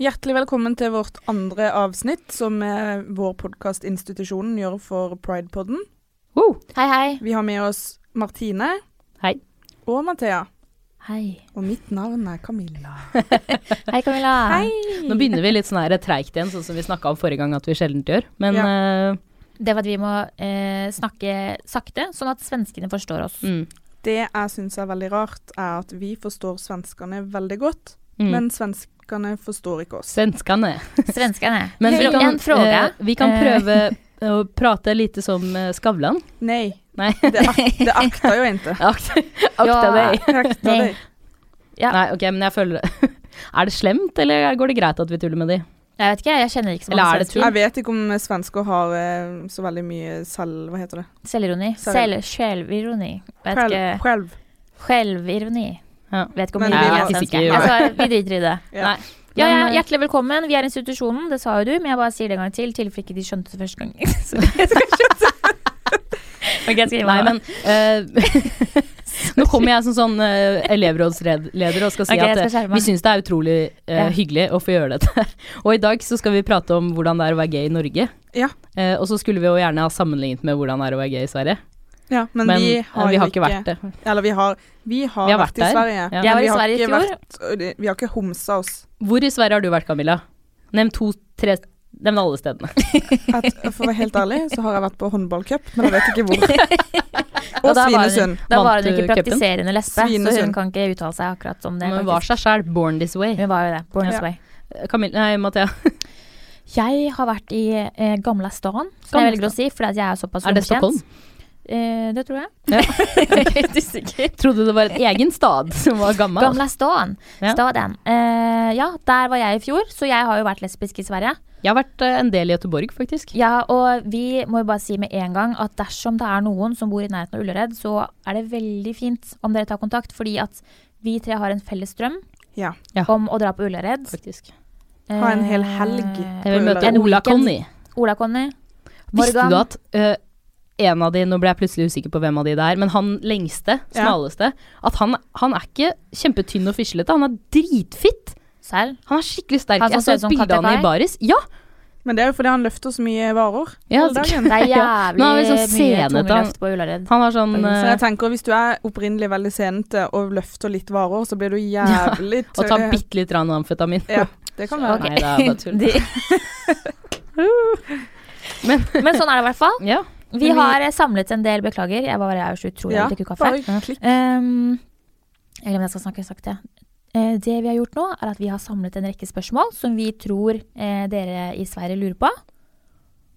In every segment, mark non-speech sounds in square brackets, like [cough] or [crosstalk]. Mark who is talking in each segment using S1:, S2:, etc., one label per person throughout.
S1: Hjertelig velkommen til vårt andre avsnitt, som eh, vår podkast Institusjonen gjør for Pridepodden.
S2: Wow.
S3: Hei, hei.
S1: Vi har med oss Martine.
S2: Hei.
S1: Og Mathea.
S2: Hei.
S1: Og mitt navn er Camilla.
S3: Hei, Camilla. Mm.
S2: Nå begynner vi litt sånn her treigt igjen, sånn som vi snakka om forrige gang at vi sjelden gjør. Men eh,
S3: Det var at vi må eh, snakke sakte, sånn at svenskene forstår
S2: [laughs]
S3: oss.
S2: eh, mm,
S1: Det jeg syns er veldig rart, er at vi forstår svenskene veldig godt,
S2: mm.
S1: men svenskene forstår ikke oss.
S2: Svenskene.
S3: Svenskene.
S2: Men
S3: Hej,
S2: vi kan,
S3: en fråga.
S2: eh, vi kan
S3: Eh.
S2: prøve å prate lite som eh, Skavlan.
S1: Nei.
S2: Nei.
S1: Det, ak det akter jo
S2: [laughs]
S1: ikke.
S2: Akt,
S3: [laughs] Ja.
S2: akta deg.
S1: Det akter
S3: Nei.
S1: deg.
S3: Ja.
S2: Nei, ok, men jeg føler [laughs] Er det slemt, eller går det greit at vi tuller med de?
S3: Jeg vet ikke, jeg kjenner ikke så mange
S2: Eller er det
S3: svensker.
S1: Jeg vet ikke om svensker har eh, så veldig mye selv... Hva heter det?
S3: Selvironi.
S1: Selv-
S3: Selv, selvironi. Vet
S1: Sjel-
S3: ikke.
S1: Själv.
S3: Selvironi.
S2: Ja.
S3: Vet ikke om
S1: Men
S3: vi
S1: vi
S3: er
S1: er
S3: svenske.
S2: ikke-
S3: Altså, vi driter
S2: [laughs]
S3: i det.
S1: Ja.
S2: Nei.
S3: Ja, ja,
S2: Men, eh,
S3: hjertelig velkommen. Vi er institusjonen, det sa jo du, men jeg bare sier det en gang til, i tilfelle ikke de skjønte det første gang. [laughs] Så
S2: [laughs]
S3: jeg skal skjønne. Ok, jeg skal gi meg
S2: Nei,
S3: nå.
S2: men eh, [laughs] Nå kommer jeg som sånn eh, elevrådsleder og skal si
S3: Ok, jeg
S2: at eh,
S3: skal skjerme
S2: vi
S3: meg.
S2: syns det er utrolig eh,
S3: Ja.
S2: hyggelig å få gjøre dette. [laughs] og i dag så skal vi prate om hvordan det er å være gay i Norge.
S1: Ja.
S2: Eh, og så skulle vi jo gjerne ha sammenlignet med hvordan det er å være gay i Sverige.
S1: Ja, men,
S2: Men
S1: vi
S2: eh,
S1: har, jo
S2: ikke vært det.
S1: Eller vi har, vi har,
S2: Vi har
S1: vært,
S2: vært der.
S1: i Sverige.
S2: Ja.
S1: men
S3: Jeg var
S1: vi
S3: i
S1: har
S3: Sverige i
S1: ikke
S3: fjor.
S1: vært- vi har ikke homsa oss.
S2: Hvor i Sverige har du vært, Camilla? Nevn to, tre Nevn alle stedene.
S1: At, for å være helt ærlig så har jeg vært på håndballcup, men jeg vet ikke
S3: [laughs]
S1: hvor. Og
S3: Og da var det-
S1: Svinesund.
S3: Da var
S2: Vant
S3: hun ikke
S2: du cupen?
S3: praktiserende lesbe, så hun
S1: Svinesund.
S3: kan ikke uttale seg akkurat om det.
S2: Men
S3: faktisk.
S2: var seg sjæl. Born this way.
S3: Hun var jo det. Born
S1: Ja.
S3: this way.
S2: Eh, Camilla, nei, Mathea.
S3: Jeg har vært i eh, Gamla stan, som
S2: Gamla
S3: jeg velger å si, fordi at jeg er såpass
S2: Er det Stockholm?
S3: romkjent. Eh, det tror jeg.
S2: Altså, [laughs] Ja.
S3: jeg er helt usikker.
S2: Trodde det var en egen stad som var gammel.
S3: Gamla stan.
S2: Ja.
S3: Staden. Eh, ja, der var jeg i fjor, så jeg har jo vært lesbisk i Sverige.
S2: Jeg har vært eh, en del i Göteborg, faktisk.
S3: Ja, og vi må jo bare si med en gang at dersom det er noen som bor i nærheten av Ullared, så er det veldig fint om dere tar kontakt, fordi at vi tre har en felles drøm
S1: Ja.
S2: Ja.
S3: om å dra på Ullared.
S2: faktisk.
S1: Ha en hel helg.
S3: Eh,
S2: Jeg vil
S1: På
S2: møte
S3: Ullared.
S2: Ola
S3: En weekend.
S2: Conny.
S3: Ola Conny.
S2: Visste
S3: Morgan.
S2: du at eh, en av de, nå ble jeg plutselig usikker på hvem av de det er, men han lengste,
S1: Ja.
S2: smaleste, at han, han er ikke kjempetynn og fislete, han er dritfitt.
S3: Serr?
S2: Han er skikkelig sterk.
S3: Han som
S2: Jeg så
S3: ser ut
S2: et
S3: som
S2: bilde av han
S3: Katja Kai?
S2: i baris. Ja!
S1: Men det er jo fordi han løfter så mye varer.
S2: Ja,
S1: hele dagen.
S3: Det
S2: [laughs]
S3: er
S2: Ja,
S3: jævlig
S2: nå er vi sånn
S3: mye
S2: senete,
S3: tunge
S2: han.
S3: løft på Ullared.
S2: Han har sånn
S1: Så
S2: eh,
S1: jeg tenker Hvis du er opprinnelig veldig senete og løfter litt varer, så blir du jævlig
S2: Å ta
S1: tørr.
S2: bitte litt rann amfetamin.
S1: Ja, det kan være.
S3: Ok.
S2: Nei, det er bare
S3: [laughs]
S2: tull.
S3: De-
S2: [laughs] Men
S3: Men sånn er det i hvert fall.
S2: [laughs] ja.
S3: Vi har eh, samlet en del, beklager. Jeg var jeg er jo så utrolig
S1: Ja,
S3: jeg drikker kaffe.
S1: Bare klikk.
S3: Um, jeg glemmer jeg skal snakke sakte. Eh, Det vi har gjort nå, er at vi har samlet en rekke spørsmål som vi tror eh, dere i Sverige lurer på.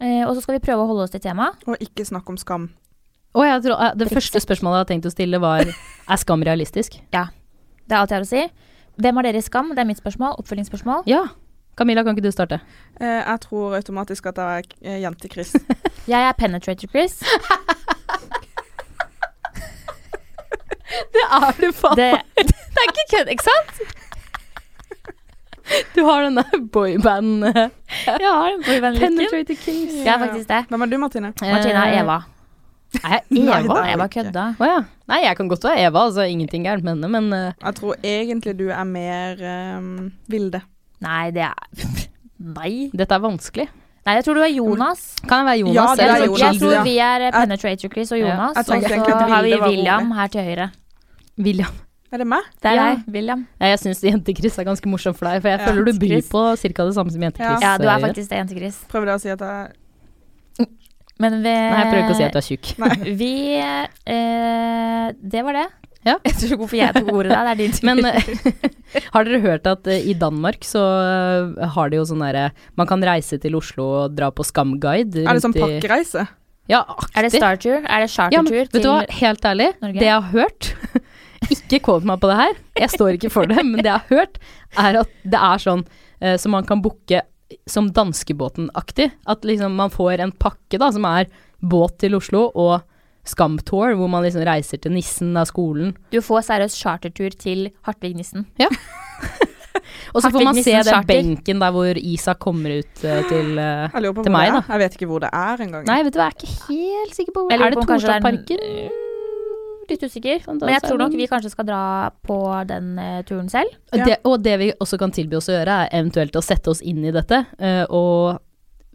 S3: Eh, og så skal vi prøve å holde oss til temaet.
S1: Og ikke snakk om skam.
S2: Og jeg tror, eh, det første spørsmålet jeg hadde tenkt å stille, [laughs] var er skam realistisk?
S3: Det er alt jeg har å si. Hvem har dere i skam? Det er mitt spørsmål. Oppfølgingsspørsmål.
S2: Ja. Camilla, kan ikke du starte?
S1: Eh, jeg tror automatisk at jeg er eh, jente-Chris.
S3: Jeg er penetrator,
S2: [laughs]
S3: Chris.
S2: Det er du faen
S3: Det, det er ikke kødd, ikke sant?
S2: Du har denne boyband eh,
S3: [laughs] Jeg har den på vennligheten.
S2: Penetrated Kings.
S3: [laughs] Jeg er faktisk det.
S1: Hvem er du, Martine?
S3: Martina er
S2: Eh,
S3: Eva.
S2: Er jeg
S1: Nei, det er
S2: Eva?
S3: Jeg
S1: du
S3: bare
S1: ikke.
S3: kødda.
S2: Å ja. Nei, jeg kan godt være Eva, altså ingenting gærent med henne, men eh,
S1: Jeg tror egentlig du er mer eh, Vilde.
S3: Nei, det er [laughs] Nei.
S2: dette er vanskelig.
S3: Nei, jeg tror du er Jonas.
S2: Kan jeg være Jonas?
S1: Ja, det
S2: Jeg
S1: er
S2: sånn
S1: Jonas.
S3: Jeg
S2: chill-
S3: tror vi er Penetrator Chris og
S2: Ja.
S3: Jonas.
S1: Jeg tenkte
S3: og
S1: egentlig
S3: så
S1: at
S3: har vi
S1: Vilde var
S3: William
S1: rolig.
S3: her til høyre.
S2: William.
S1: Er det meg?
S3: Det er
S2: Ja.
S3: deg, William.
S2: Ja, Jeg syns jente-Chris er ganske morsom for deg, for jeg
S1: Ja.
S2: føler du byr
S3: Chris.
S2: på ca. det samme som
S1: Ja.
S2: jente-Chris.
S3: Ja, du
S2: eh,
S3: er
S2: gjør.
S3: faktisk det, jente Chris.
S1: Prøvde jeg å si at jeg
S3: Men vi
S2: Nei, jeg prøver ikke å si at du er tjukk.
S3: Vi eh, Det var det.
S2: Ja.
S3: [laughs] Jeg tror ikke hvorfor jeg tok ordet der. Det er din [laughs] tur.
S2: Men [laughs] eh, har dere hørt at eh, i Danmark så eh, har de jo sånn derre Man kan reise til Oslo og dra på Skamguide.
S1: Er det sånn
S2: rundt i-
S1: pakkereise?
S2: Ja,
S3: er
S2: aktig.
S3: det Startur? Er det
S2: eh, Ja, men,
S3: chartertur
S2: vet du hva, helt ærlig,
S3: Norge?
S2: det jeg har hørt [laughs] Ikke kåp meg på det her, jeg står ikke for det, men det jeg har hørt, er at det er sånn eh, som man kan booke som danskebåten-aktig. At liksom man får en pakke da, som er båt til Oslo og Skamtour, hvor man liksom reiser til nissen av skolen.
S3: til Du får seriøst chartertur til Hartvig Nissen.
S2: Og så får
S3: Hartvig
S2: man se
S3: Nissens
S2: den
S3: charter.
S2: benken der hvor Isak kommer ut eh, til eh,
S1: Jeg lurer på
S2: Til
S1: hvor
S2: meg,
S1: det er. Jeg vet ikke hvor det er engang.
S2: Nei, vet du hva, jeg er ikke helt sikker på
S3: Jeg
S2: hvor
S3: lurer
S2: Er det
S3: på om kanskje det er en-
S2: Torsdalparken?
S3: litt usikker.
S2: Sånn, da
S3: Men jeg
S2: så er
S3: tror nok
S2: man-
S3: vi kanskje skal dra på den eh, turen selv.
S1: Ja.
S2: Det, og det vi også kan tilby oss å gjøre, er eventuelt å sette oss inn i dette. eh, og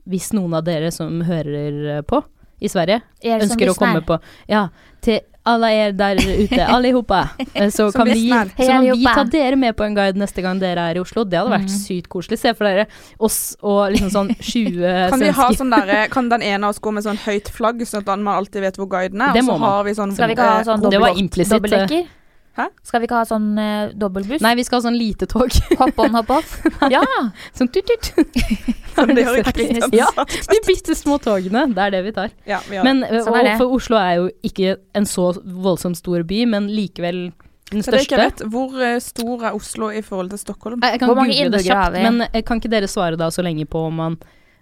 S2: hvis noen av dere som hører på i Sverige,
S3: Jeg som
S2: ønsker å komme
S3: lyssnar.
S2: på Ja, til alle er
S1: [laughs]
S2: der ute, allihopa. eh,
S1: Som
S2: Så kan vi,
S1: lyssnar.
S2: så kan vi
S3: Allihopa.
S2: ta dere med på en guide neste gang dere er i Oslo. Det hadde vært
S1: Mhm.
S2: sykt koselig. Se for dere oss og
S1: [laughs]
S2: liksom sånn 20
S1: Kan, vi ha
S2: svensker.
S1: sånn der, kan den ene av oss gå med sånn høyt flagg, sånn at man alltid vet hvor guiden er?
S2: Det
S1: og
S2: må
S1: så
S2: man.
S1: har vi sånn,
S3: Skal vi ikke ha
S1: eh,
S3: sånn
S1: kobler-
S2: Det var implisitt. eh,
S3: Dobbeltdekker?
S1: Hæ?
S3: Skal vi ikke ha sånn eh, dobbeltbuss?
S2: Nei, vi skal ha sånn lite tog.
S3: [laughs]
S2: [laughs]
S3: Hopp on, hopp off? ja!
S2: Sånn tut-tut. [laughs]
S1: Sånn, [laughs] [laughs] det hører
S2: Faktisk
S1: ikke
S3: nesten.
S1: ut.
S2: Ja. De bitte små togene. Det er det vi tar.
S1: Ja, vi har det.
S2: Men, ø,
S3: Sånn er
S2: og,
S3: det.
S2: for Oslo er jo ikke en så voldsomt stor by, men likevel den
S1: Så det er ikke
S2: største.
S1: rett. Hvor eh, stor er Oslo i forhold til Stockholm?
S2: Jeg jeg kan
S3: Hvor mange
S2: google det
S3: innbyggere har
S2: kjapt,
S3: vi?
S2: men ø, kan ikke dere svare da så lenge på om man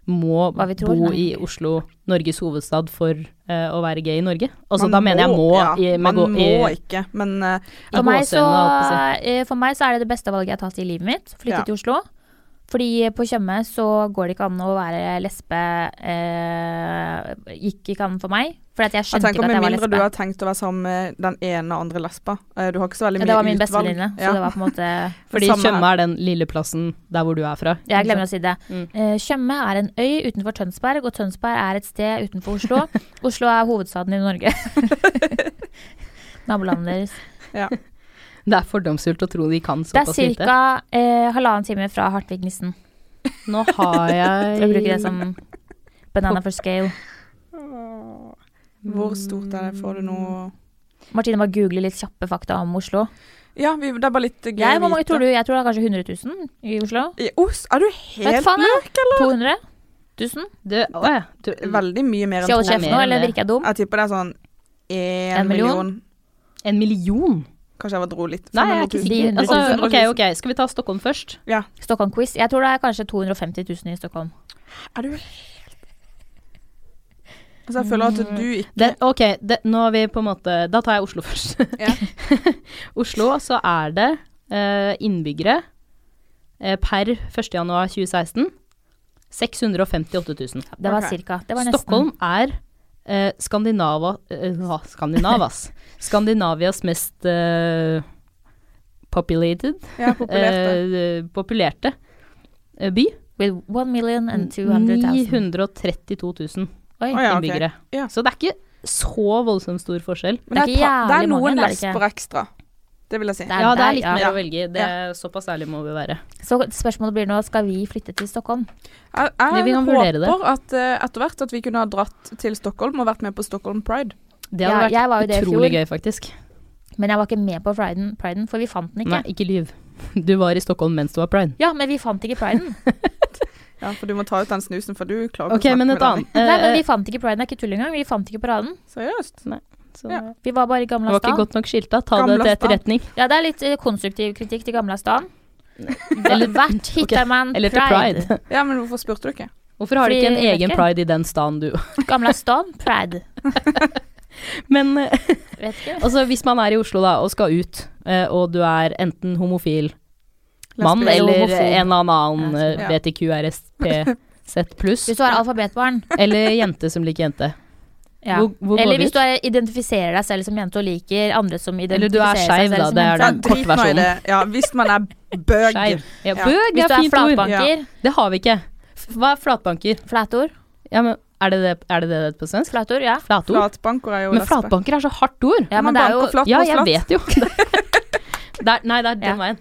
S2: må
S3: Hva vi tror,
S2: bo
S3: nei.
S2: i Oslo, Norges hovedstad, for ø, å være gay i Norge? Altså,
S1: Man
S2: da mener jeg må
S1: ja,
S2: i, med
S1: Man
S2: gå, i,
S1: må ikke, men eh,
S2: i
S3: For meg, så,
S2: gåseøynene, holdt jeg på å si.
S3: eh, for meg så er det det beste valget jeg har tatt i livet mitt. Flytte
S1: Ja.
S3: til Oslo. Fordi på Tjøme så går det ikke an å være lesbe eh, Gikk ikke an for meg. For at jeg
S1: jeg
S3: skjønte
S1: tenker
S3: ikke at
S1: med
S3: jeg var
S1: mindre du
S3: lesbe.
S1: har tenkt å være sammen med den ene og andre lesba. Eh, Du har ikke så veldig
S3: Ja,
S1: mye
S3: det var min
S1: utvalg.
S3: bestevenninne, så
S1: Ja.
S3: det var på en måte
S2: Fordi
S1: Samme her.
S2: Tjøme er den lille plassen der hvor du er fra.
S3: Jeg glemmer å si det.
S2: Mm.
S3: Eh, Tjøme er en øy utenfor Tønsberg, og Tønsberg er et sted
S2: [laughs]
S3: utenfor Oslo. Oslo er hovedstaden i Norge. [laughs] Nabolandet
S2: [laughs]
S3: deres.
S2: [laughs] Det er fordomsfullt å tro de kan
S3: Det er
S2: såpass lite.
S3: ca. Eh, halvannen time fra Hartvig-Nissen.
S2: Nå
S3: [laughs]
S2: har jeg
S3: For å bruke det som banana for scale.
S1: Hvor stort er det? Får du noe
S3: Martine bare googler litt kjappe fakta om Oslo.
S1: Ja, vi, det er bare litt eh, gøy
S3: Jeg, hvor mange
S1: vite.
S3: tror du? Jeg tror det er kanskje 100 000 i Oslo.
S1: I Os, er du
S3: Vet
S1: helt
S3: faen jeg. 200 000?
S2: Du, å ja. Du,
S1: Veldig mye mer
S3: Skal
S1: enn
S2: Det er
S3: jeg holde kjeft
S2: mer
S3: nå,
S2: enn
S3: eller
S2: det.
S3: virker jeg dum?
S1: Jeg tipper det er sånn én
S3: En million?
S1: million.
S2: en million?
S1: Kanskje jeg var dro litt.
S2: Nei, jeg er ikke
S1: 500 000.
S2: sikker.
S3: 900
S2: Altså,
S1: 000.
S2: ok, ok, Skal vi ta Stockholm først?
S1: Ja.
S3: Stockholm-quiz. Jeg tror det er kanskje 250 000 i Stockholm.
S1: Er du helt Altså, jeg føler at du
S3: Mm.
S1: ikke
S2: Det, ok, det, nå har vi på en måte Da tar jeg Oslo [laughs] først.
S1: Ja.
S2: Oslo, så er det eh, innbyggere eh, per 1.1.2016 658 000.
S3: Det var
S1: Ok.
S3: cirka. Det var nesten.
S2: Stockholm er eh, Skandinava, eh, hva?
S3: [laughs]
S2: Skandinavas Skandinavias mest eh, populated
S1: Jeg er populert.
S2: eh, populerte eh, by.
S3: With 1 million and 200 000.
S2: 932 000
S3: Oi.
S1: Å, ja, ok.
S2: innbyggere.
S1: Ja.
S2: Så det er ikke så voldsomt stor forskjell.
S1: Men det er,
S3: Det er
S1: pa, det er
S3: jævlig mange,
S1: noen
S3: det er det ikke.
S1: lesber ekstra. Det vil jeg si.
S3: Det er
S2: ja, det
S3: der,
S2: er litt
S3: ja.
S2: mer
S1: Ja.
S2: å velge. Det er Såpass ærlig må vi være.
S3: Så spørsmålet blir nå, skal vi flytte til Stockholm?
S1: Jeg,
S2: Det vi
S1: jeg
S2: kan vurdere det.
S1: håper at eh, etter hvert at vi kunne ha dratt til Stockholm og vært med på Stockholm Pride.
S2: Det
S3: Ja,
S2: hadde
S3: jeg var jo
S2: vært
S3: det i
S2: utrolig
S3: fjor.
S2: gøy, faktisk.
S3: Men jeg var ikke med på priden, priden for vi fant den ikke.
S2: Nei, ikke lyv. Du var i Stockholm mens det var pride.
S3: Ja, men vi fant ikke priden.
S1: Ja, for du må ta ut den snusen, for du klarer
S2: Ok,
S1: ikke å snakke
S2: men
S1: med
S2: et annet
S3: Nei, men
S2: [laughs] eh,
S3: vi fant ikke priden, det er ikke tull engang. Vi fant ikke paraden.
S1: den. Seriøst.
S2: så
S1: ja.
S2: Det
S3: Vi var bare i Gamla
S2: var ikke
S3: stan.
S2: godt nok skilta. Ta det
S1: Gamla
S2: til
S1: stan.
S2: etterretning.
S3: Ja, det er litt eh, konstruktiv kritikk til Gamla stan.
S2: Eller-
S3: Eller hvert
S2: [laughs] ok,
S3: hittar man
S2: Eller til
S3: pride.
S2: pride.
S1: Ja, men hvorfor spurte du ikke?
S2: [laughs] Hvorfor har du
S3: Fordi
S2: ikke en
S3: jeg vet
S2: egen
S3: ikke.
S2: pride i den staden du
S3: Gamla stan, pride.
S2: [laughs] Men eh,
S3: Vet ikke.
S2: altså, hvis man er i Oslo da, og skal ut, eh, og du er enten homofil mann
S1: Lesber-
S2: eller
S1: homofob.
S2: en eller annen eh,
S1: Ja.
S2: BTQRSPZ [laughs] pluss,
S3: Hvis du er alfabetbarn.
S2: eller jente som liker jente.
S3: Ja.
S2: Hvor, hvor
S3: Eller
S2: går
S3: hvis
S2: du
S3: du
S2: ut?
S3: er, identifiserer deg selv som jente og liker andre som
S2: Eller du er
S3: identifiserer seg
S2: skeiv,
S3: selv
S2: da,
S3: som
S2: det er
S3: jente.
S1: Ja,
S2: den korte
S1: drit nå i
S2: versjonen.
S1: det. Ja, hvis man er bøg.
S2: Skeiv. Ja,
S1: Ja.
S2: bøg
S3: Hvis
S2: er
S3: du er
S2: fint ord.
S3: flatbanker,
S2: Det har vi ikke. F- Hva er flatbanker?
S3: flatord,
S2: Ja, men er det det, er det, det på svensk?
S3: flatord, ja.
S2: Flatord?
S1: Flatbanker er jo
S2: Men
S1: lesbe.
S2: flatbanker er så hardt ord.
S3: ja
S1: Man
S3: men det er jo
S1: banker flatt
S2: Ja,
S1: på
S2: jeg
S1: flatt.
S2: vet jo. [laughs] Det er, nei, det er den
S3: Ja.
S2: veien.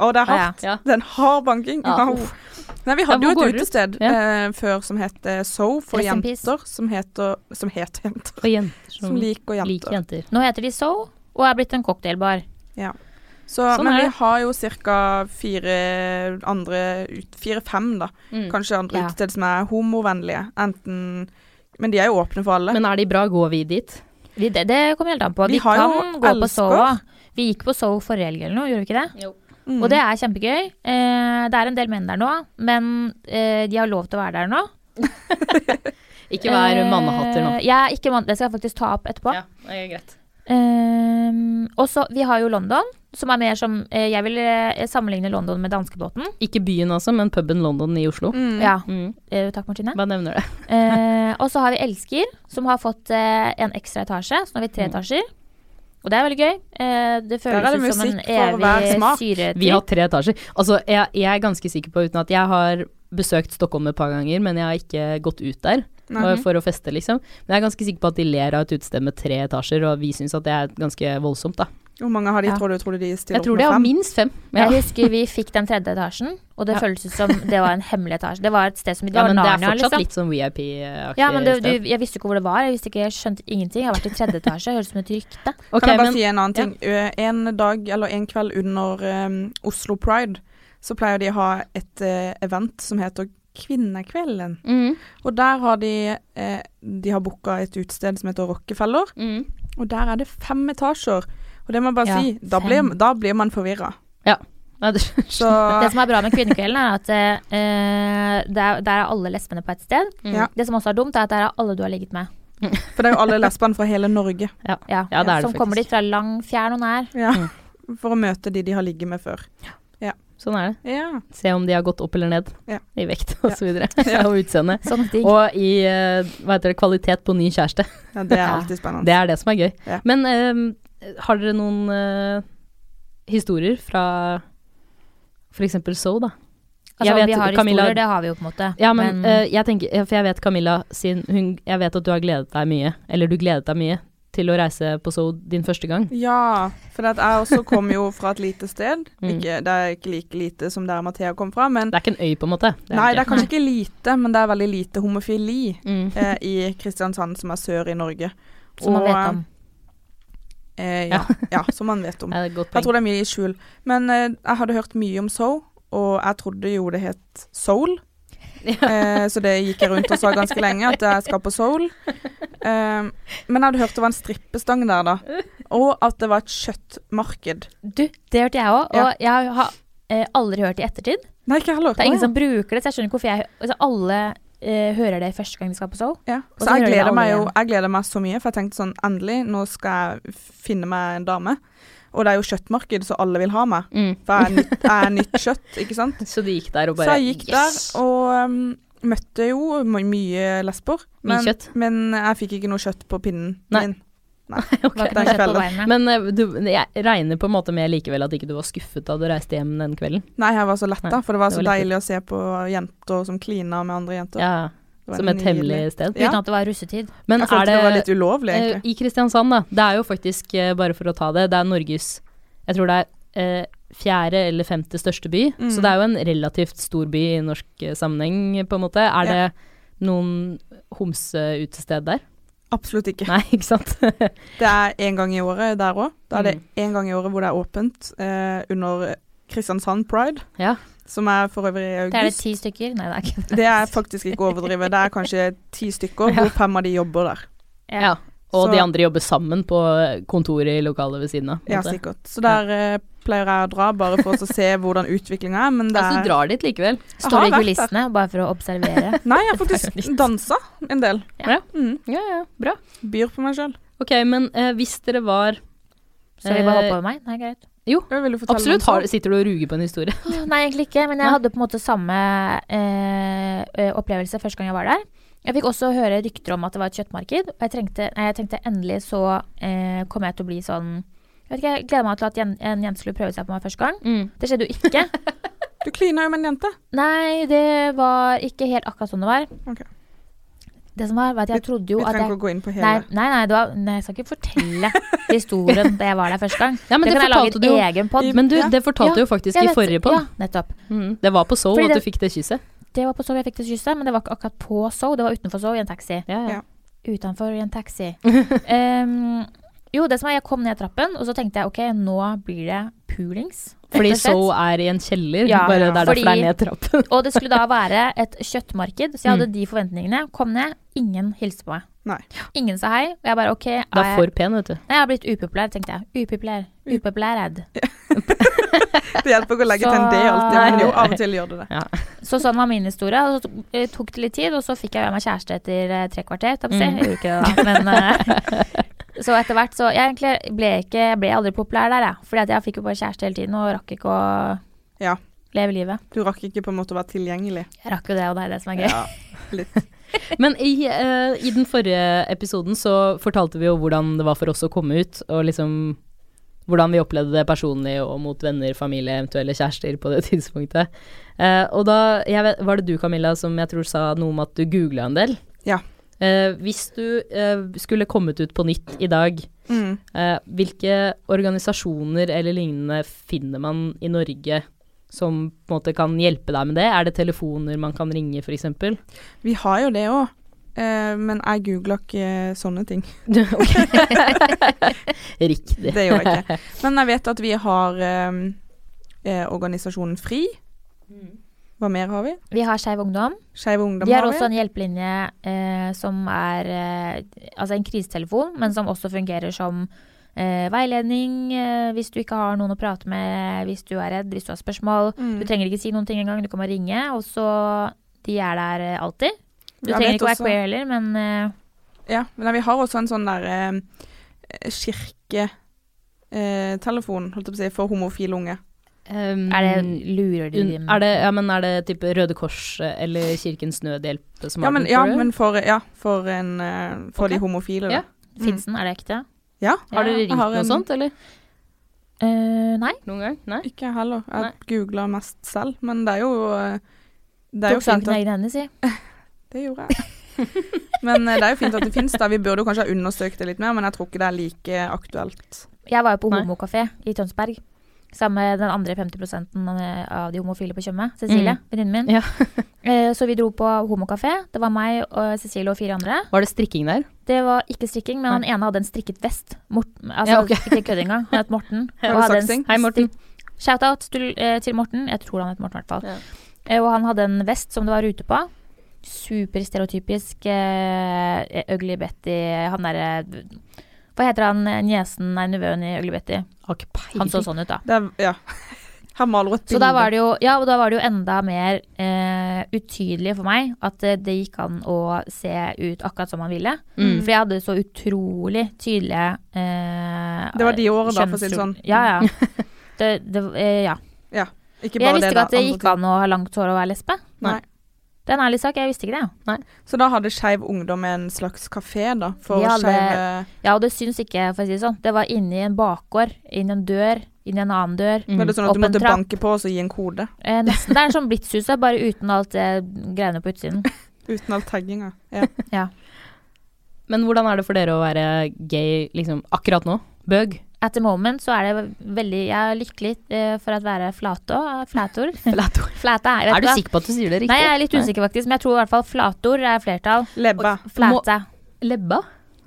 S1: Å, det er hardt.
S2: Ja.
S1: Det er en hard banking.
S2: Ja,
S1: Au.
S2: uff.
S1: Nei, vi
S2: Ja,
S1: hadde
S2: hvor
S1: jo
S2: går
S1: et
S2: dere ut?
S1: utested
S2: Ja.
S1: eh, før som het eh, So for
S3: Rest in peace.
S1: jenter, som heter Som het jenter.
S2: Og jenter som,
S1: Som liker jenter.
S2: Mm. liker jenter.
S3: Nå heter de So og er blitt en cocktailbar.
S1: Så,
S2: Sånn
S1: men
S2: er
S1: vi
S2: det.
S1: har jo ca. fire andre ut- Fire-fem, da.
S2: Mm.
S1: Kanskje andre
S3: Ja.
S1: utested som er homovennlige. Enten Men de er jo åpne for alle.
S2: Men er de bra, går vi dit?
S3: Vi, det, det kommer helt an på.
S1: Vi
S3: Vi,
S1: har
S3: kan
S1: jo
S3: gå på
S1: elsker.
S3: So også. Vi gikk på So forrige helg eller noe, gjorde vi ikke det?
S1: Mm.
S3: Og det er kjempegøy. Eh, det er en del menn der nå, men eh, de har lov til å være der nå.
S2: Ikke vær
S3: Eh,
S2: mannehatter nå.
S3: Jeg er ikke mann, det skal jeg faktisk ta opp etterpå.
S2: Ja, det er greit.
S3: Eh, og så, vi har jo London, som er mer som eh, Jeg vil eh, sammenligne London med danskebåten.
S2: Ikke byen altså, men puben London i Oslo.
S1: Mm.
S3: Ja,
S2: Mm.
S3: eh, takk, Martine.
S2: Bare nevner det.
S3: Eh, og så har vi Elsker, som har fått eh, en ekstra etasje, så nå har vi tre
S2: Mm.
S3: etasjer. Og det er veldig gøy. Eh, det
S1: Der er
S3: føles
S1: det
S3: ut som en
S1: musikk for hver
S3: evig
S1: smak.
S3: syretripp.
S2: Vi har tre etasjer. Altså, jeg, jeg er ganske sikker på, uten at jeg har besøkt Stockholm et par ganger, men jeg har ikke gått ut der
S1: Nei.
S2: eh, for å feste, liksom. Men jeg er ganske sikker på at de ler av et utested med tre etasjer, og vi syns at det er ganske voldsomt, da.
S1: Hvor mange har de,
S3: Ja.
S1: tror du? Tror du de stiller
S2: Jeg tror
S1: opp
S2: de
S1: med
S2: har
S1: fem?
S2: minst fem. Ja.
S3: Jeg husker vi fikk den tredje etasjen, og det
S2: Ja.
S3: føles ut som det var en hemmelig etasje. Det var et sted som det
S2: Ja,
S3: var
S2: men det er
S3: Narnia,
S2: fortsatt
S3: liksom.
S2: litt sånn VIP-aktig
S3: Ja, men du, du,
S2: sted.
S3: jeg visste ikke hvor det var. Jeg visste ikke, jeg skjønte ingenting. Jeg har vært i tredje etasje. Høres ut som et rykte.
S2: Ok,
S1: kan jeg bare
S2: men
S1: si en annen ting? Ø, En dag eller en kveld under em, Oslo Pride så pleier de å ha et eh, event som heter Kvinnekvelden.
S2: mm,
S1: Og der har de eh, De har booka et utested som heter Rockefeller,
S2: mm.
S1: og der er det fem etasjer. Og det må jeg bare
S3: Ja,
S1: si, da
S3: fem.
S1: blir, da blir man forvirra.
S2: [laughs] Nei, du, [laughs]
S1: Så
S3: Det som er bra med Kvinnekvelden, er at eh, der, der er alle lesbene på ett sted.
S2: mm.
S1: Ja.
S3: Det som også er dumt, er at der er alle du har ligget med.
S1: For det er jo alle lesbene fra hele Norge.
S3: Ja,
S2: Ja, det er det
S3: som Sånn
S2: faktisk.
S3: kommer dit fra lang, fjern og nær.
S1: Ja.
S2: Mm.
S1: For å møte de de har ligget med før.
S2: Sånn er det.
S1: Ja.
S2: Se om de har gått opp eller ned
S1: Ja.
S2: i vekt
S1: [laughs]
S2: og
S1: Ja.
S2: så videre. [laughs] og utseende.
S3: Sånne ting.
S2: Og i eh, hva heter det, kvalitet på ny kjæreste.
S1: ja det er
S3: Ja.
S1: alltid spennende.
S2: Det er det som er gøy.
S1: Ja.
S2: Men eh, har dere noen eh, historier fra f.eks. So, da?
S3: altså,
S2: jeg vet,
S3: vi har
S2: Camilla-
S3: historier, det har vi jo på en måte.
S2: Ja, men,
S3: Men-
S2: eh, jeg tenker, ja, for jeg vet Camilla sin hun, Jeg vet at du har gledet deg mye, eller du gledet deg mye, til å reise på So din første gang.
S1: Ja, for at jeg også kom jo fra et lite sted.
S2: Mm.
S1: Ikke, det er ikke like lite som der Mathea kom fra, men
S2: Det er ikke en øy, på en måte. Det
S1: Nei, det
S2: det
S1: er kanskje ikke lite, men det er veldig lite homofili
S2: Mm.
S1: [laughs] eh, i Kristiansand, som er sør i Norge.
S3: Som man
S1: Og,
S3: vet om.
S1: Eh, ja, ja, som man vet
S2: [laughs]
S1: om.
S2: Det er et godt
S1: Jeg
S2: poeng.
S1: tror det er mye i skjul. Men eh, jeg hadde hørt mye om soul, og jeg trodde jo det het soul. Eh, så det gikk jeg rundt og sa ganske lenge, at jeg skal på soul. Eh, men jeg hadde hørt det var en strippestang der, da. Og at det var et kjøttmarked.
S3: Du, det hørte jeg òg, og jeg har eh, aldri hørt i ettertid.
S1: Nei, ikke jeg heller.
S3: Det er ingen som bruker det, så jeg skjønner ikke hvorfor jeg altså, alle eh, hører det første gang de skal på Soul.
S1: Ja.
S3: Og
S1: Så
S3: så hører
S1: jeg
S3: de
S1: gleder meg
S3: aldri
S1: jo
S3: igjen.
S1: jeg gleder meg så mye, for jeg tenkte sånn endelig, nå skal jeg finne meg en dame. Og det er jo kjøttmarked, så alle vil ha meg.
S2: Mm.
S1: For jeg er
S2: [laughs]
S1: nytt, jeg er nytt kjøtt, ikke sant.
S2: Så de gikk der og
S1: Så
S2: bare
S1: jeg gikk der og um, møtte jo my- mye lesber.
S2: Mye
S1: Men,
S2: kjøtt.
S1: men jeg fikk ikke noe kjøtt på pinnen
S2: Nei.
S1: min.
S3: Var
S1: Den
S3: ikke noe kjøtt på
S1: kvelden.
S3: beinet.
S2: Men eh, du, jeg regner på en måte med likevel at ikke du var skuffet da du reiste hjem den kvelden.
S1: Nei, jeg var så letta,
S2: Nei,
S1: for det var
S2: det
S1: så
S2: var litt
S1: deilig å se på jenter som klina med andre jenter.
S2: Ja,
S1: Det var
S2: som et
S1: nydelig.
S2: hemmelig sted.
S1: Ja.
S3: Uten at det var russetid.
S2: Men
S1: Jeg
S2: er
S1: følte det, var litt
S2: det
S1: ulovlig,
S2: eh,
S1: egentlig.
S2: I Kristiansand, da. Det er jo faktisk, eh, bare for å ta det, det er Norges Jeg tror det er eh, fjerde eller femte største by.
S1: Mm.
S2: Så det er jo en relativt stor by i norsk eh, sammenheng, på en måte. Er
S1: Ja.
S2: det noen homseutested der?
S1: Absolutt ikke.
S2: Nei, [laughs] ikke sant?
S1: Det er én gang i året der òg. Da er det
S2: Mm.
S1: én gang i året hvor det er åpent eh, under Kristiansand Pride,
S2: ja.
S1: som er for øvrig i
S3: Det er det
S1: august.
S3: ti stykker? Nei, det er ikke det.
S1: Det er, faktisk ikke å overdrive. Det er kanskje ti
S2: [laughs]
S1: stykker, hvor fem av de jobber der.
S2: ja. Og
S1: Så-
S2: de andre jobber sammen på kontoret i lokalet ved siden av. på en
S1: Ja,
S2: måte.
S1: sikkert. Så der eh, pleier jeg å dra, bare for å se hvordan utviklinga er. Men det
S2: Altså, du
S1: er
S2: drar dit likevel.
S1: Jeg har
S3: Står i
S1: vært der.
S3: kulissene bare for å observere.
S1: Nei, jeg har faktisk dansa en del.
S2: Ja.
S1: Mm.
S2: [laughs] Ja, ja, bra.
S1: Byr på meg sjøl.
S2: Ok, men eh, hvis dere var
S3: Så vi
S2: Eh,
S3: bare hopper over meg? Nei, greit.
S2: Absolutt. Har,
S1: sånn.
S2: sitter du og ruger på en [laughs] historie?
S3: Åh, Nei, egentlig ikke, men jeg
S2: Nei.
S3: hadde på en måte samme eh, eh, opplevelse første gang jeg var der. Jeg fikk også høre rykter om at det var et kjøttmarked, og jeg tenkte, nei, jeg tenkte endelig så eh, kommer jeg til å bli sånn jeg vet ikke, Jeg gleder meg til at jen, en jente skulle prøve seg på meg første gang.
S2: Mm.
S3: Det skjedde jo
S2: [laughs]
S3: ikke.
S1: Du klina jo med en jente.
S3: Nei, det var ikke helt akkurat sånn det var.
S1: Ok.
S3: Det som var, var at jeg trodde jo
S1: Vi
S3: at
S1: trenger
S3: jeg
S1: ikke å gå inn på hele. [laughs]
S3: Nei, nei, nei, det var, nei, jeg skal ikke
S2: [laughs]
S3: fortelle historien da jeg var der første gang.
S2: Ja, men
S3: det,
S2: det
S3: kan jeg lage
S2: fortalte
S3: en
S2: du jo.
S3: egen pod.
S2: Men du,
S1: Ja.
S2: det fortalte du jo faktisk i forrige pod.
S3: Ja, nettopp.
S2: Mm. Det var på Soul
S3: Fordi
S2: at du
S3: det-
S2: fikk det kysset.
S3: Det var på Sow jeg fikk det kysset, men det var ikke akkurat på Sow. Det var utenfor Sow i en taxi.
S2: Ja, ja.
S1: Ja.
S3: Utenfor i
S2: [laughs]
S3: en taxi. Ehm, jo, det som var, jeg kom ned trappen, og så tenkte jeg ok, nå blir det poolings. rett
S2: Fordi
S3: og slett.
S2: Soul er i en kjeller.
S3: Ja,
S1: ja.
S2: bare Det er derfor
S3: Fordi-
S2: det er ned [laughs] trappen.
S3: Og det skulle da være et kjøttmarked, så jeg hadde
S2: Mm.
S3: de forventningene. Kom ned, ingen hilste på meg.
S1: Nei.
S3: Ingen sa hei. Og jeg bare OK, er
S2: Du er
S3: jeg,
S2: for pen, vet du.
S3: nei, jeg har blitt upopulær, tenkte jeg. Upopulær. Upopulær ad.
S1: Det hjelper ikke å legge
S3: Så-
S1: til en D alltid, men jo, av og til gjør det det.
S3: Så sånn var min historie. Og så to- eh, tok det litt tid, og så fikk jeg meg kjæreste etter eh, tre kvarter. holdt jeg på å si.
S2: Mm.
S3: Jeg gjorde ikke det, da. Men, eh, så etter hvert så Jeg egentlig ble, ikke, jeg ble aldri populær der, jeg. Fordi at jeg fikk jo bare kjæreste hele tiden og rakk ikke å
S1: Ja.
S3: leve livet.
S1: Du rakk ikke på en måte å være tilgjengelig.
S3: Jeg rakk jo det, og det er det som er gøy.
S1: [laughs] Litt.
S2: Men i, eh, i den forrige episoden så fortalte vi jo hvordan det var for oss å komme ut, og liksom hvordan vi opplevde det personlig og mot venner, familie, eventuelle kjærester på det [laughs] tidspunktet. Eh, og da jeg vet, var det du, Camilla, som jeg tror sa noe om at du googla en del.
S1: Ja.
S2: Eh, hvis du eh, skulle kommet ut på nytt i dag,
S1: Mm.
S2: eh, hvilke organisasjoner eller lignende finner man i Norge som på en måte kan hjelpe deg med det? Er det telefoner man kan ringe, f.eks.? [laughs]
S1: Vi har jo det òg, eh, men jeg googler ikke eh, sånne ting.
S2: [laughs] Riktig.
S1: Det gjør
S3: [laughs]
S1: jeg ikke. Men jeg vet at vi har eh, eh, organisasjonen FRI. Hva mer har vi?
S3: Vi har Skeiv Ungdom.
S1: Skeiv Ungdom
S3: De har
S1: har vi.
S3: også en hjelpelinje eh, som er eh, altså en krisetelefon, men som også fungerer som eh, veiledning eh, hvis du ikke har noen å prate med, hvis du er redd, hvis du har spørsmål.
S1: Mm.
S2: Mm.
S3: Du trenger ikke si noen ting engang, du kan bare ringe. Og så de er der eh, alltid. Du
S1: Jeg
S3: trenger
S1: vet
S3: ikke å være
S1: også-
S3: queer heller, men eh,
S1: Ja, men vi har også en sånn der eh, kirketelefon, holdt jeg på å si, for homofile unge.
S2: Um,
S3: er det lurer de
S2: un-
S3: dem?
S2: er det, ja, men er det type Røde Kors eh, eller Kirkens Nødhjelp som
S1: Ja,
S2: har
S1: men,
S2: den,
S1: ja,
S2: tror du?
S1: men for, ja, for, en, eh, for
S2: Ok.
S1: de homofile. da.
S2: Ja.
S3: Fins den, er det ekte?
S1: Ja.
S2: Har dere
S1: Jeg
S2: ringt
S1: har
S2: noe
S1: en-
S2: sånt, eller?
S3: Eh, nei.
S2: Noen gang? Nei?
S1: Ikke jeg heller.
S2: Nei.
S1: Jeg googla mest selv, men det er jo eh, Det er jo
S3: Tok
S1: fint
S3: saken i
S1: at
S3: egne hender, si.
S1: Det gjorde jeg. [laughs] men eh, det er jo fint at det fins der. Vi burde jo kanskje ha undersøkt det litt mer, men jeg tror ikke det er like aktuelt.
S3: Jeg var jo på
S2: Nei.
S3: homokafé i Tønsberg. Sammen med den andre 50 av de homofile på Tjøme. Cecilie,
S2: Mm.
S3: venninnen min.
S2: Ja.
S3: [laughs] Eh, Så vi dro på homokafé. Det var meg og Cecilie og fire andre.
S2: Var det strikking der?
S3: Det var ikke strikking, men han ene hadde en strikket vest. Morten, altså,
S2: Ja, ok.
S3: Ikke kødd engang. Han het Morten.
S2: [laughs]
S1: Ja,
S3: Og hadde en
S1: saksing.
S2: Hei, Morten.
S3: Shout-out til, eh, til Morten. Jeg tror han het Morten, i hvert fall.
S2: Ja.
S3: Eh, Og han hadde en vest som det var rute på. Superstereotypisk eh, Ugly Betty Han derre Hva heter han eh, niesen, nei, nevøen i Ugly Betty?
S2: Har ikke peiling.
S3: Han så sånn ut, da.
S1: Det er, ja. [laughs] Her maler hun et
S3: Så da var det jo, ja, og da var det jo enda mer eh, utydelig for meg at eh, det gikk an å se ut akkurat som man ville.
S2: Mm.
S3: For jeg hadde så utrolig tydelige eh,
S1: Det var de årene da, for å si det
S3: kjønnsro-
S1: sånn.
S3: Ja,
S1: [laughs]
S3: ja. Det, det, eh, ja.
S1: Ikke
S3: Jeg
S1: bare
S3: visste
S1: da,
S3: ikke at det
S1: andre
S3: gikk
S1: ting.
S3: an å ha langt hår og være lesbe.
S1: Nei.
S3: Det er en ærlig sak, jeg visste ikke det. ja.
S1: Så da hadde Skeiv Ungdom en slags kafé, da, for
S3: Vi hadde-
S1: skeive
S3: Ja, og det syns ikke, for å si det sånn. Det var inni en bakgård, inni en dør, inni en annen dør.
S2: Mm.
S1: Var det sånn at
S3: Opp
S1: du
S3: en
S1: måtte
S3: trapp.
S1: banke på og så gi en kode?
S3: Eh, nesten. Det er en sånn Blitzhuset, bare uten alt det greiene på utsiden.
S1: Uten all tagginga. Ja.
S2: sånn? Men hvordan er det for dere å være gay liksom, akkurat nå? Bøg?
S3: At the moment så er det veldig Jeg er lykkelig eh, for å være flatå.
S2: [laughs]
S3: Flætor.
S2: Flator.
S3: Flæte er
S2: Er du sikker på at du sier det riktig?
S3: Nei, jeg er litt usikker faktisk, men jeg tror i hvert fall flator er flertall.
S1: Lebba.
S3: Flæte.
S2: [laughs] Nei. Lebba?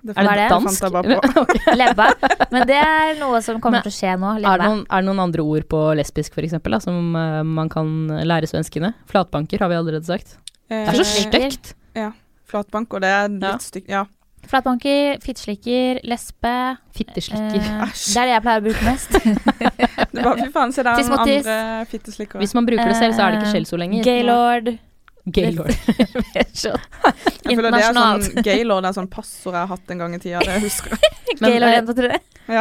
S1: Det
S2: Er
S3: Hva
S2: det,
S3: er det?
S2: dansk?
S1: fant jeg bare på.
S3: Lebba. Men det er noe som kommer
S2: Men
S3: til å skje nå.
S2: Er det,
S3: Lebba.
S2: noen, er det noen andre ord på lesbisk for eksempel, da, som eh, man kan lære svenskene? Flatbanker har vi allerede sagt. [laughs] Det er så
S1: Eh,
S3: stygt.
S2: stygt.
S1: Flatbank, og det er
S2: Ja.
S1: litt stygt. Ja.
S3: Flatbanker, fittslikker, lesbe.
S2: Fitteslikker.
S3: Eh,
S1: Æsj.
S3: det er det jeg pleier å bruke [laughs] mest.
S1: Det var, fy faen, se der er noen
S3: Tismottis.
S1: andre fitteslikkere.
S2: Hvis man bruker det selv, så er det ikke
S3: Eh,
S2: skjellsord lenger. [laughs]
S3: Gaylord. [laughs]
S2: Gaylord.
S1: [laughs] Jeg føler det er [laughs]
S3: Internasjonalt.
S1: sånn gaylord, det er sånn passord jeg har hatt en gang i tida, det
S2: [laughs]
S1: husker jeg.
S2: Men,
S3: Gaylord
S2: eh,
S3: 1, 2, 3.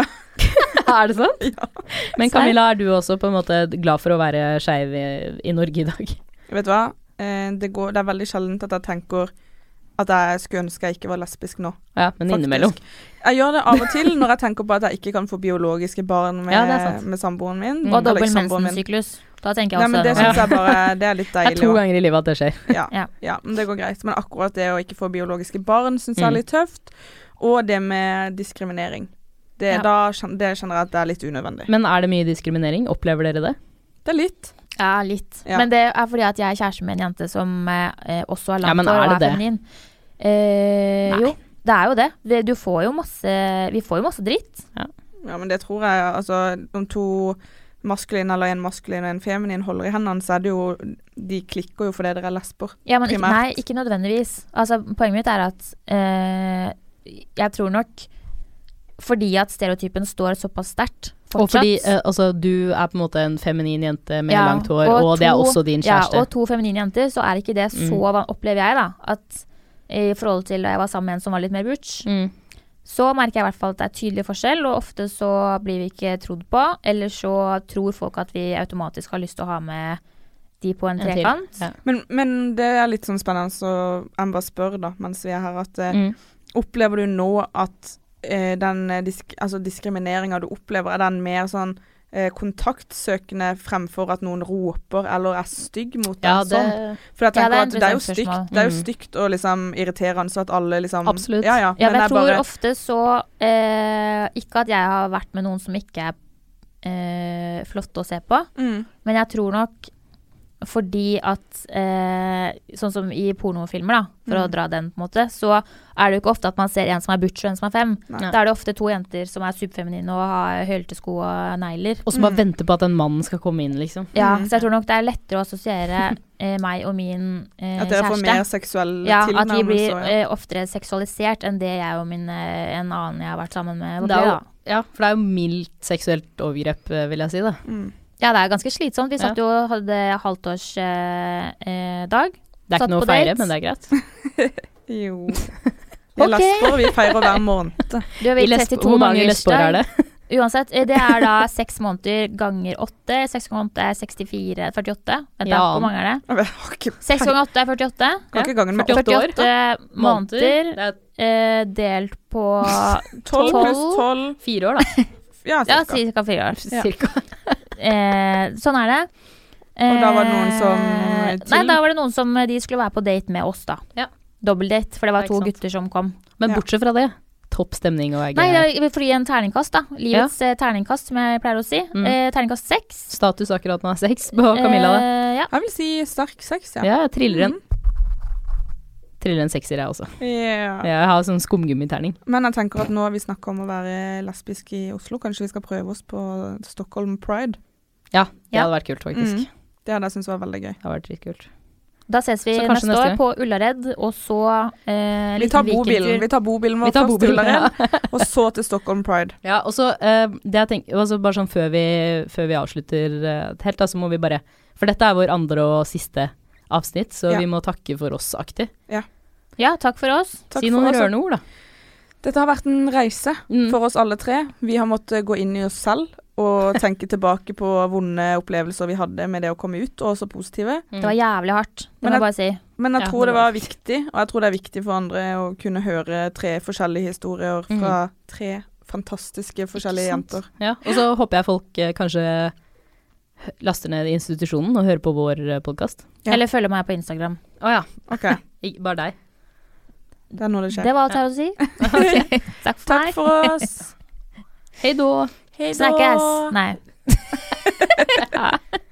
S2: er det [laughs] sant?
S1: Ja.
S2: Men Camilla, er du også på en måte glad for å være skeiv i, i Norge i dag? [laughs]
S1: Vet du hva, eh, det, går, det er veldig sjeldent at jeg tenker at jeg skulle ønske jeg ikke var lesbisk nå.
S2: Ja, men
S1: faktisk.
S2: innimellom.
S1: Jeg gjør det av og til når jeg tenker på at jeg ikke kan få biologiske barn med,
S2: Ja, det er sant.
S1: med samboeren min.
S2: Mm.
S3: Og
S1: eller
S3: dobbel
S1: samboeren min.
S3: mensensyklus. Da tenker
S1: Nei,
S3: jeg
S1: men
S3: også
S1: det sånn-
S3: det.
S1: syns jeg bare Det er
S2: [laughs]
S1: litt
S2: Det er
S1: deilig.
S2: to
S1: å-
S2: ganger i livet at det skjer.
S1: Ja,
S3: Ja.
S1: ja. men det går greit. Men akkurat det å ikke få biologiske barn syns jeg er
S2: Mm.
S1: litt tøft. Og det med diskriminering. Det,
S3: Ja.
S1: da, kjen- det kjenner jeg at det er litt unødvendig.
S2: Men er det mye diskriminering? Opplever dere det?
S1: Det er litt.
S3: Ja, litt.
S1: Ja.
S3: Men det er fordi at jeg er kjæreste med en jente som eh, også har
S2: Ja,
S3: langt
S2: men
S3: hår
S2: er
S3: og
S2: det
S3: er
S2: det?
S3: feminin. Eh,
S2: Nei.
S3: jo, det er jo det. det. Du får jo masse Vi får jo masse dritt.
S1: Ja, men det tror jeg Altså, om to maskuline eller en maskulin og en feminin holder i hendene, så er det jo De klikker jo fordi dere er lesber.
S3: Ja, men ikke,
S1: Primært.
S3: nei, ikke nødvendigvis. Altså, poenget mitt er at eh, jeg tror nok fordi at stereotypen står såpass sterkt
S2: Og
S3: fortsatt.
S2: fordi eh, altså, du er på en måte en feminin jente med
S3: Ja,
S2: langt hår, og,
S3: og
S2: det er
S3: to-
S2: også din
S3: ja,
S2: kjæreste.
S3: og to feminine jenter, så er ikke det så van- Opplever jeg, da. At i forhold til da jeg var sammen med en som var litt mer butch,
S2: mm.
S3: så merker jeg i hvert fall at det er tydelig forskjell, og ofte så blir vi ikke trodd på, eller så tror folk at vi automatisk har lyst til å ha med midt i på en
S2: En til.
S3: trekant.
S2: Ja.
S1: Men, men det er litt sånn spennende, så jeg bare spør da, mens vi er her, at eh,
S2: Mm.
S1: opplever du nå at eh, den eh, disk altså diskrimineringa du opplever, er den mer sånn eh, kontaktsøkende fremfor at noen roper eller er stygg mot deg?
S2: ja, det
S1: sånn? For jeg
S3: Ja,
S1: tenker
S3: det er
S1: at det er jo
S3: interessant
S1: stygt,
S3: spørsmål.
S1: det er jo
S2: Mm.
S1: stygt og liksom irriterende, så at alle liksom
S2: Absolutt.
S1: Ja, ja,
S3: Ja, men
S1: men det
S3: jeg
S1: er
S3: tror
S1: bare
S3: ofte så eh, Ikke at jeg har vært med noen som ikke er eh, flotte å se på,
S1: mm,
S3: men jeg tror nok fordi at eh, Sånn som i pornofilmer, da, for å
S1: Mm.
S3: dra den, på en måte, så er det jo ikke ofte at man ser en som er butch og en som er fem.
S1: Nei.
S3: Da er det ofte to jenter som er superfeminine og har hølte sko og negler.
S2: Og så bare
S1: Mm.
S2: vente på at en mann skal komme inn, liksom.
S3: Ja,
S1: Mm.
S3: Så jeg tror nok det er lettere å assosiere
S1: [laughs]
S3: eh, meg og min eh,
S1: At dere
S3: kjæreste.
S1: får mer seksuell
S3: Ja, at vi
S1: tilnærmelse.
S3: blir
S1: og-
S3: eh, oftere seksualisert enn det jeg og min, eh, en annen jeg har vært sammen med.
S2: Det er jo,
S3: Ja.
S2: ja, for det er jo mildt seksuelt overgrep, eh, vil jeg si, da.
S1: mm.
S3: ja, det er ganske slitsomt. Vi satt jo og hadde halvtårsdag. Eh, dag.
S2: Det er
S3: Satt
S2: ikke noe
S3: på
S2: å feire, men
S3: dates.
S2: det er greit.
S1: Jo. Vi er
S3: Ok.
S1: lesber, og vi feirer hver måned.
S3: du har
S2: I
S3: vært
S2: lesb-
S3: 32
S2: Hvor mange
S3: dagers
S2: lesber
S3: dag.
S2: er det?
S3: Uansett, eh, det er da [laughs] seks måneder ganger åtte. Seks ganger åtte er 64 48. Vent, da,
S2: Ja.
S3: hvor mange er det?
S1: Jeg har ikke,
S3: Seks ganger åtte er 48.
S1: kan ikke gangen med
S2: 48 år.
S3: 48 måneder
S2: Det er
S3: eh, delt på
S1: 12 pluss 12
S2: fire [laughs] år, da.
S1: Ja,
S3: [laughs] Ja,
S1: cirka.
S3: ca. fire år.
S1: Ja.
S2: Cirka.
S3: Eh, sånn er det.
S1: Og da var det noen som,
S3: Eh,
S1: til-
S3: Nei, da var det noen som eh, de skulle være på date med oss, da.
S2: Ja.
S3: Dobbeldate, for
S2: Ja,
S3: det var
S2: ikke
S3: to
S2: sant.
S3: gutter som kom.
S2: Men
S1: Ja.
S2: bortsett fra det, topp stemning og er
S3: Nei,
S2: gøy.
S3: det er- for å gi en terningkast, da. Livets eh, terningkast, som jeg pleier å si.
S2: Mm.
S3: Eh, terningkast seks.
S2: Status akkurat nå er sex på Camilla, da.
S3: Eh, ja.
S1: Jeg vil si sterk sex, ja.
S2: Ja, jeg triller en Triller en sekser, jeg også.
S1: Ja.
S2: Jeg har sånn skumgummiterning.
S1: Men jeg tenker at nå har vi snakka om å være lesbisk i Oslo. Kanskje vi skal prøve oss på Stockholm Pride.
S2: Ja, det
S3: Ja.
S2: hadde vært kult, faktisk.
S1: Mm. Det hadde jeg syntes var veldig gøy.
S2: Det hadde vært dritkult.
S3: Da ses vi
S2: Så
S3: neste,
S2: kanskje neste
S3: år
S2: gang.
S3: på Ullared, og så eh,
S1: Vi tar bobilen Vi tar bobilen vår
S2: Vi tar
S1: først til
S2: bobilen,
S1: Ullared, og så til Stockholm Pride.
S2: Ja, og så eh, det jeg tenker, altså bare sånn før vi, før vi avslutter eh, helt, da, så må vi bare For dette er vår andre og siste avsnitt, så
S1: Ja.
S2: vi må takke for oss aktig.
S3: Ja, takk for oss.
S1: Takk
S2: si
S1: for
S2: noen
S1: oss.
S2: rørende ord, da.
S1: Dette har vært en reise
S2: Mm.
S1: for oss alle tre. Vi har måttet gå inn i oss selv
S2: [laughs]
S1: og tenke tilbake på vonde opplevelser vi hadde med det å komme ut, og også positive.
S3: Det var jævlig hardt, det
S1: Men jeg-
S3: må jeg bare si.
S1: Men jeg
S2: Ja,
S1: tror
S2: det
S1: det
S2: var
S1: var viktig, og jeg tror det er viktig for andre å kunne høre tre forskjellige historier fra tre fantastiske forskjellige
S2: Mm. Ikke sant?
S1: jenter.
S2: Mm. Ja, og så håper jeg folk eh, kanskje hø- laster ned institusjonen og hører på vår eh, podkast.
S1: Ja.
S3: Eller følg meg på Instagram.
S2: Å ja.
S1: OK,
S2: Bare deg.
S1: det er nå
S2: [laughs]
S1: det skjer.
S3: Det var alt jeg hadde å si. Takk for
S1: [laughs] Takk
S3: meg.
S1: for oss.
S2: Hei då.
S1: Hei [laughs]
S3: Snakkes. Nei. [laughs]